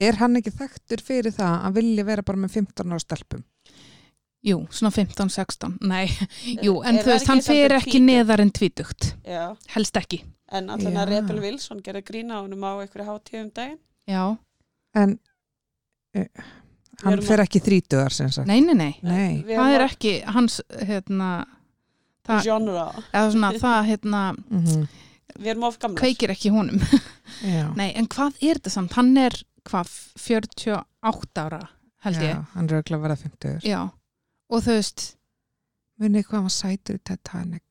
Er hann ekki þekktur fyrir það að vilja vera bara með 15 ára stelpum? Jú, svona 15-16, nei, jú, en Er þú veist, það ekki hann svolítið fer ekki tvítugt? neðar en tvítugt, Já, helst ekki, en allan að Já. Rebel Wilson gerði grína honum á einhverju hátíðum daginn. já, En eh, hann erum fer ekki þrítuðar sem sagt. nei, nei, nei, Nei. Við það er erum á ekki hans, hérna, það, Genre. eða svona, það, hérna, Mm Við erum of gamlar. kveikir ekki í honum. Já. Nei, en hvað er þetta samt? Hann er hvað, 48 ára held Já, ég. hann er auðvitað að vera 50. Já. Og þú veist, Munið hvað hann var sætur í Titanic.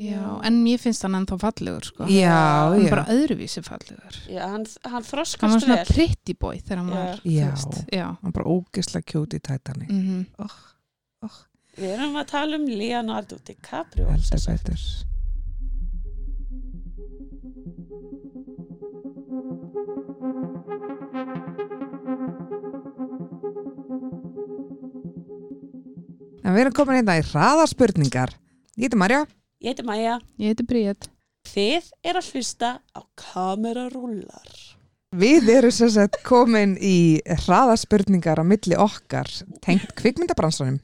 já, en mér finnst hann ennþá fallegur, sko. Já, Hann já. er bara öðruvísi fallegur. Já, hann, hann Hann var þroskast svona vel. pretty boy þegar hann Já. var, Já. veist. Já. Hann bara ógislega kjút í Titanic. Mm Við erum að tala um Leonardo DiCaprio. Heldur sem sagt. betur. En við erum komin hérna í hraðarspurningar. Ég heiti Marja. Ég heiti Maja. Ég heiti Bríett. Þið er að hlusta á kamerarúlar. Við erum sem sagt komin í hraðarspurningar á milli okkar tengt kvikmyndabransanum.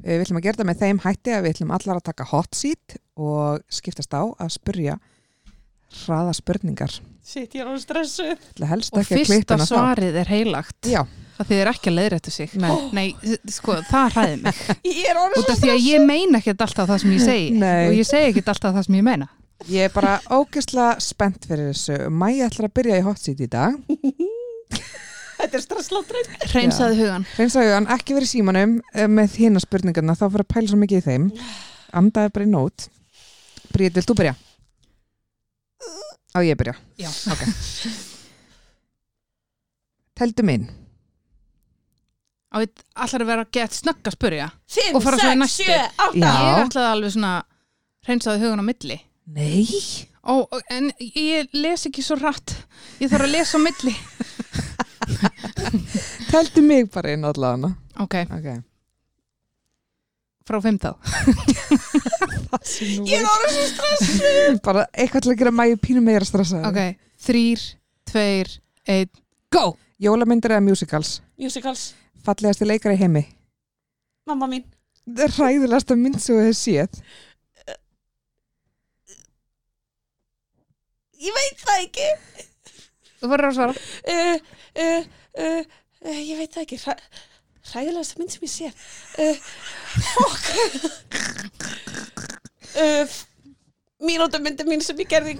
Eh, Við ætlum að gera það með þeim hætti að við ætlum allar að taka hot seat og skiptast á að spurja hraðarspurningar. Sitt, ég er á stressu. Ég ætla helst Og ekki að klippa fyrsta hana þá. svarið er heilagt. Já. Það þýðir ekki að leiðrættu sig. Nei. Nei, sko, það hræði mig. Ég er orðin Út af því að ég meina ekkert alltaf það sem ég segi. Nei. Og ég segi ekkert alltaf það sem ég meina. Ég er bara ógeðslega spennt fyrir þessu. Mæja ætlar að byrja í hot seat í dag. Þetta er stressláttur. Reynsaði hugan. Reynsaðu hann ekki verið í símanum eh, með hérna spurningarna þá fyrir að pæla svo mikið í þeim. Andaði bara í nót. Bríð, vilt þú byrja? Á ég að byrja. Já. Teldu minn. Á, við allar að vera gett snögg að spurja. 5, Og fara svo í 6, næstu. 7, 8. Já. Ég ætlaði alveg svona reynsaði hugan á milli. Nei. Ó, ó, en ég les ekki svo rætt. Ég þarf að lesa á milli. Teldu mig bara inn allavega. Ok, Okay. frá fimm þá. Ég er orðið svo stressuð. bara eitthvað til að gera mæju pínum meira stressaði. Ok, þrýr, tveir, einn, go! Jólamyndir eða musicals? Musicals. Fallegasti leikari í heimi? Mamma mín. Ræðilegasta mynd sem þú hefur séð? Ég veit það ekki. Þú verður að svara. Uh, uh, uh, uh, ég veit það ekki. Hræ, hræðilegasta mynd sem ég sé. Uh, fokk. Uh, mínúta myndi mín sem ég gerði.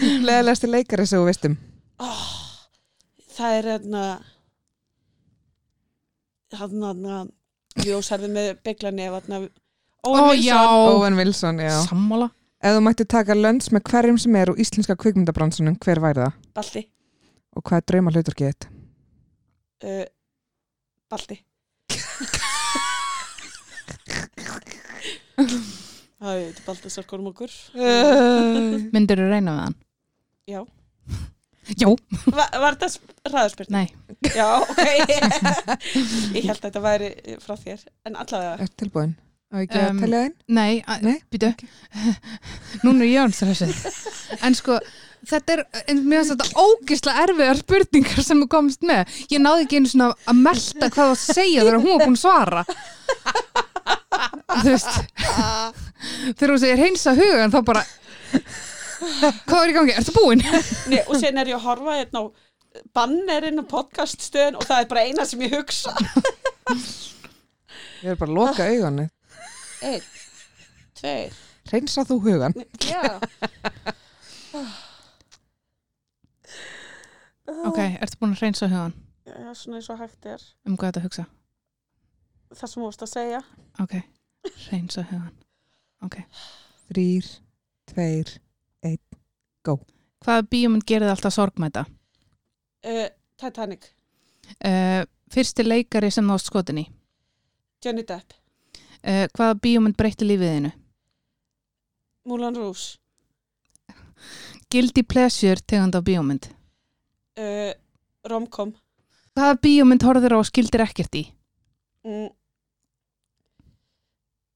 Leðilegasti leikari sem þú veist um? Það er hérna... Hann, hann, ljósarði hérna, með hérna, bygglanef, hann, Ó, já, Owen Wilson, já. sammála. Ef þú mætti taka lönns með hverjum sem er úr íslenska kvikmyndabransunum, hver væri það? Balti. Og hvað er drauma hluturkið þitt? Uh, Balti. Það er þetta Baltasar Kormokur. Myndir þú reyna við hann? Já. Já, Va var þetta ræðarspyrning? nei. Já, ok. ég held að þetta væri eh, frá þér. En allavega, Er tilbúin? Á ekki að Um, telja einn? Nei, að- Nei? býtu. Núna er ég án stressið. En sko, þetta er, en mér finnst þetta ógislega erfiðar spurningar sem þú komst með. Ég náði ekki einu svona að melta hvað það var að segja þegar hún var búin að svara. Þú veist, þegar hún segir hreinsa hugan þá bara, hvað er í gangi? Ertu búin? Nei, og sen er ég að horfa hérna á bannerinn og podcaststöðin og það er bara eina sem ég hugsa. Ég er bara að loka augunni. Einn, tveir, Reynsa þú hugan. já. Ah. Ok, ertu búin að hreinsa hugan Já, svona eins og hægt er. um hvað þetta hugsa? Það sem þú vorst að segja. Ok, hreinsa hugan. Ok, Þrýr, tveir, hvaða bíómynd gerði alltaf sorgmæta? Uh, Titanic, Uh, fyrsti leikari sem nást skotinni? Johnny Depp, Uh, hvaða bíómynd breytti lífiðinu? Moulin Rouge, Guilty Pleasure tegund af bíómynd. uh, Romcom, Hvaða bíómynd horfður á og skildir ekkert í? mm.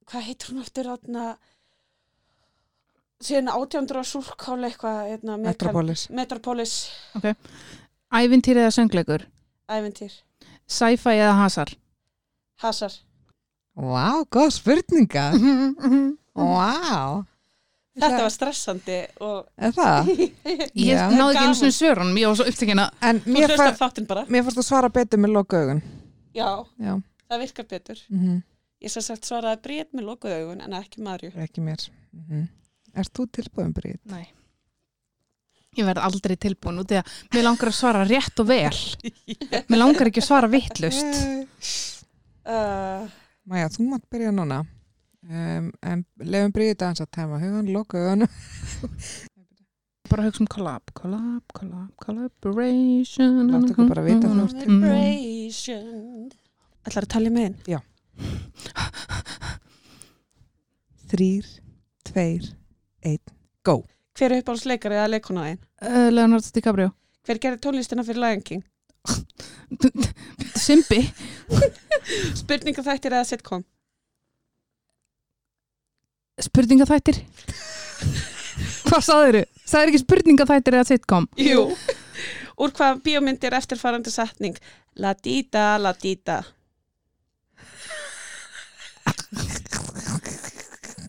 hvað heitir hún aftur átna síðan 1800 súrkála eitthvað hérna, Mekan- metropolis. Metropolis Ævintýri eða söngleikur? Æventýr, Sci-fi eða hasar? hasar Vá, góð spurninga. Vá, Þetta var stressandi og er það? Ég Já. náði ekki Gaman. einu svona svörunum, ég var svo upptekina. En þú mér, hlustar far, þáttinn bara mér fórst að svara betur með loka augun. Já, Já, það virkar betur mm Ég sem sagt svaraði breyt með lokuð augun en ekki Marju ekki mér. Mm Erst þú tilbúin, Brít? Nei. Ég verð aldrei tilbúin út í að mér langar að svara rétt og vel. Mér langar ekki að svara vittlust. Eh. uh, Maja, þú mátt byrja núna. Um, en lefum Brít aðeins að tema hugan, loka augun. Bara hugsa um collab, collab, collab, collaboration. Láttu okkur bara vita þegar þú ert Mm. Vibration Ætlar að tala með einn? Þrýr, tveir, einn, go. Hver er uppáhaldsleikari eða leikona einn? Uh, Leonardo DiCaprio. Hver gerir tónlistina fyrir Lion King? Simbi. Spurningaþættir eða sitcom? Spurningaþættir. Hvað sagðir þú? Sagðir ekki spurningaþættir eða sitcom? Jú. Úr hvað bíómyndir eftirfarandi setning? La dita, la dita.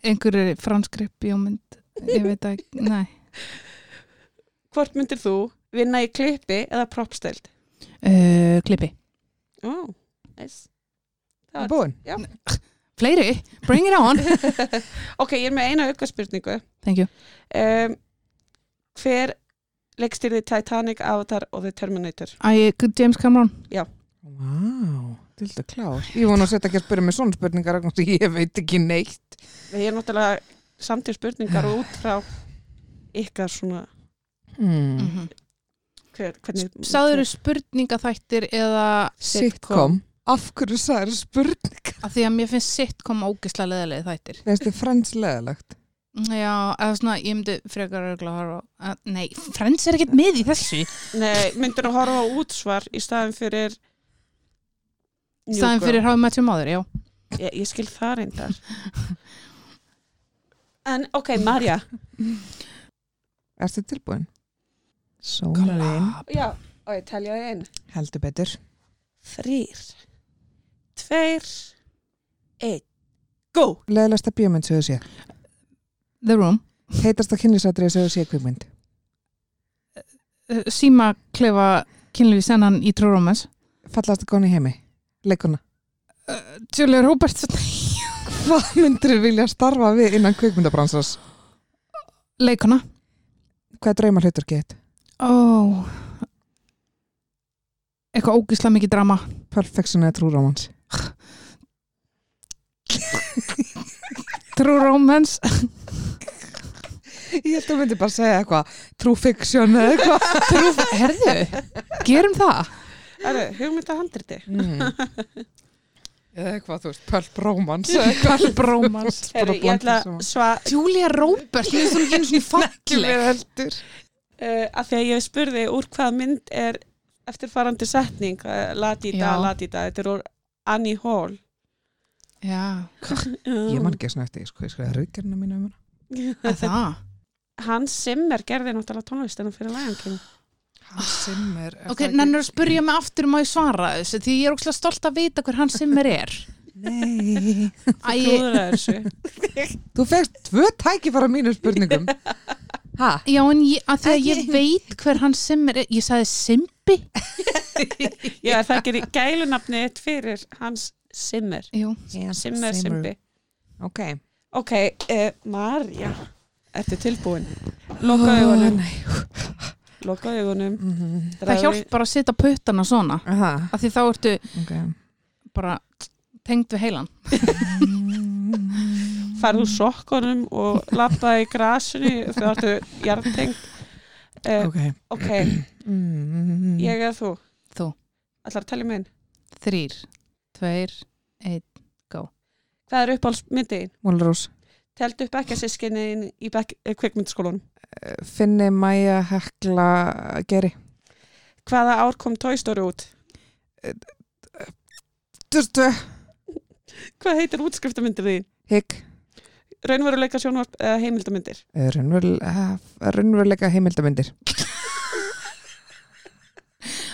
Einhverju franskri bjómynd. Ég veit það ekki, nei. Hvort myndir þú vinna í klippi eða proppstöld? Uh, klippi. Ó, nice. Það Er var- Búin? Fleiri, bring it on. Ok, ég er með eina auka spurningu. Thank you. Um, hver leikstýrði Titanic, Avatar og The Terminator? Æ, James Cameron. Vá, dildu klár. Ég vona að setja ekki að spyrja mig svona spurningar vegna þess að ég veit ekki neitt. Ég er náttúrulega samt í spurningar og út frá ykkar svona Mm. Mm hver, hvernig... -hmm. Sáður spurningaþættir eða Sitcom. Af hverju sagði spurningar? að því að mér finnst sitcom ógislega leðilega þættir. Finnst þið frends leðilegt? Já, eða svona, ég myndi frekar örgulega horfa. á- að- Nei, Friends er ekkert með í þessu. Nei, myndir þú horfa á útsvar í staðin fyrir... New Staðin Girl? fyrir hafa með tjómaður, já. Ég, ég skil það reyndar. En ok, Marja. Erst þið tilbúin? Sólarinn. Ah, Já, og ég telja það inn. Heldur betur. Þrýr, tveir, einn, go! Leðilegsta bíómynd sem þú séð. The Room. Heitasta kynlýsatrið sem þú séð kvikmynd. Uh, Sýma klefa kynlífi sennan í True Romance. Fallasta góni heimi. Leikuna. Uh, Julia Robertson. Hvað myndir þið vilja starfa við innan kvikmyndabransas? Leikona. Hvað er draumar hlutur gett? Ó. Eitthvað ógislega mikið drama. Perfection eða True Romance? True Romance. Ég held að þú myndir bara segja eitthvað True Fiction eða eitthvað. True, herðu, gerum það. Það er hugmynda handriti. Mm. Eða eitthvað, þú veist, Pulp Romance eða Pulp Romance Bara Heru, ég ætla blandið saman. sva, Julia Roberts, mér finnst hún ekki einu svona falleg Við heldur uh, að því að ég spurði úr hvaða mynd er eftirfarandi setning, uh, ladíta, Já. ladíta, þetta er úr Annie Hall. Já, Ég man ekki að snætti, sko, ég skriði rauðgerna mínu um hana að það Hans Zimmer Um, gerði náttúrulega tónlistina fyrir lægankinn. Hans Zimmer er Ok, það ekki- nennur að spurja mig aftur um að ég svara þessu því ég er ókslega stolt að vita hver hans Simmer er Nei Æ, Klúður að þessu. Þú fegst tvö tæki fara mínu spurningum Ha? já en ég, að því að ég veit hver hans Simmer er, ég sagði Simbi Já, það gerir gælunafnið þitt fyrir hans Simmer. Jú, Simmer, Simbi. Ok Ok, uh, Marja, ertu tilbúin? Loka augunum, nei loka augunum. það hjálpar að setja puttana svona Mhm. Aha, að því þá ertu ok bara tengd við heilan Farðu úr sokkunum og lappaði í grasinu þegar ertu jartengt. Uh, Ok ok, Mm. ég eða þú. Þú. Ætlar að tala um minn. Þrýr, tveir, einn Hvað er uppáhaldsmyndin? Múlrós Teldu upp ekki að sískinni í bekk- eh, kvikmyndaskólanum. Finni, Maja, Hekla, Geri Hvaða ár kom Toy Story út? Durstu Hvað heitir útskriftamyndir þín? Higg Raunveruleika sjónvarp eða heimildamindir? Raunveruleika heimildamindir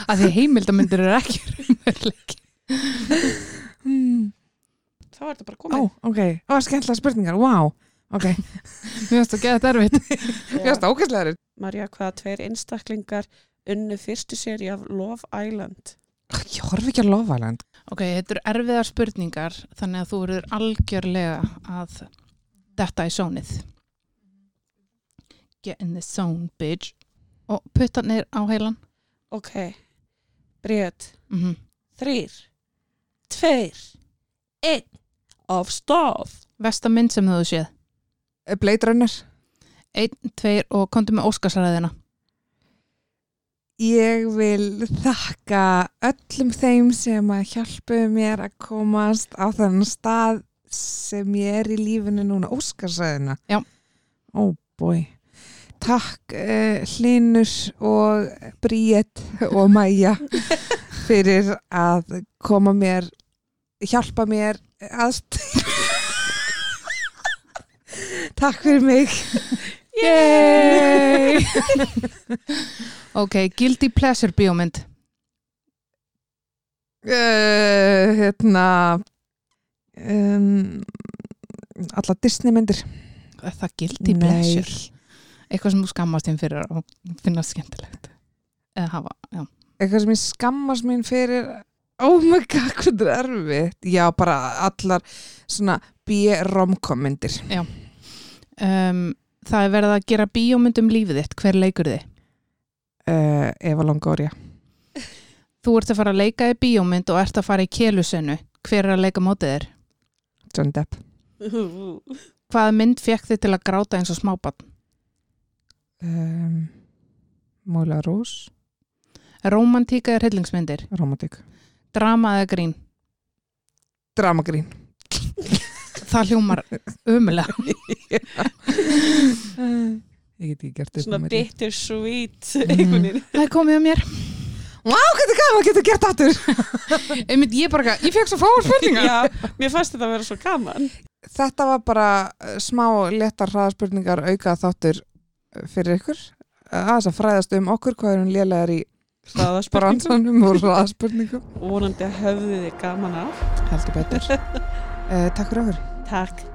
að því heimildamindir eru ekki raunveruleiki. Mm. Þá er þetta bara Ó, komið. ok, ó, skemmtilega spurningar, wow ok, Mér finnst það geðað erfitt. ég veist það ógæslega þér Marja, hvaða tveir einstaklingar unnu fyrstu séri af Love Island? Ég horf ekki að lofa land Ok, þetta eru erfiðar spurningar þannig að þú verður algjörlega að detta í sónið. Get in the zone, bitch. Og puttarnir á heilan. Ok, Britt, Mm þrýr, tveir, einn, af stof. Vesta mynd sem þú hefur séð. Blade Runner Einn, tveir og komdu með Óskarsræðina. Ég vil þakka öllum þeim sem að hjálpu mér að komast á þann stað sem ég er í lífinu núna, Óskarsæðina. Já. Ó, oh bói. Takk uh, Hlinur og Bríett og Mæja fyrir að koma mér, hjálpa mér aðst. Takk fyrir mig. Yay! ok, Guilty Pleasure bíómynd. uh, hérna um, alla Disney myndir Er það Guilty Pleasure? Eitthvað sem þú skammast þín fyrir að finna skemmtilegt. Eða hafa, já. eitthvað sem ég skammast mín fyrir oh my god, hvað þetta er erfitt já, bara allar svona B-romcom myndir Um, það er verið að gera bíómynd um lífið þitt. Hver leikur þið? uh, Eva Longoria Þú ert að fara að leika í bíómynd og ert að fara í kjelusönu. Hver er að leika mótið þér? John Depp Hvaða mynd fekk þið til að gráta eins og smábann? um, Móla Rós Rómantíka eða hryllingsmyndir? Romantik Drama eða grín? Dramagrín Það hljómar umulega. uh, ég get ekki gert upp um Svona á milli. bittersweet Mhm. einhvern veginn. Það er komið á mér. Þetta er gaman, getur gert aftur Einmitt, ég bara, ég fekk svo fáar spurningar. Já, mér fannst þetta að vera svo gaman. þetta var bara eh, smá letar hraðaspurningar auka þáttur eh, fyrir ykkur Eh, aðeins að fræðast um okkur hvað erum lélegar í Það var spurning. bransanum og hraðaspurningum Vonandi að höfðu þið gaman af. heldur betur uh, takk fyrir okkur Takk.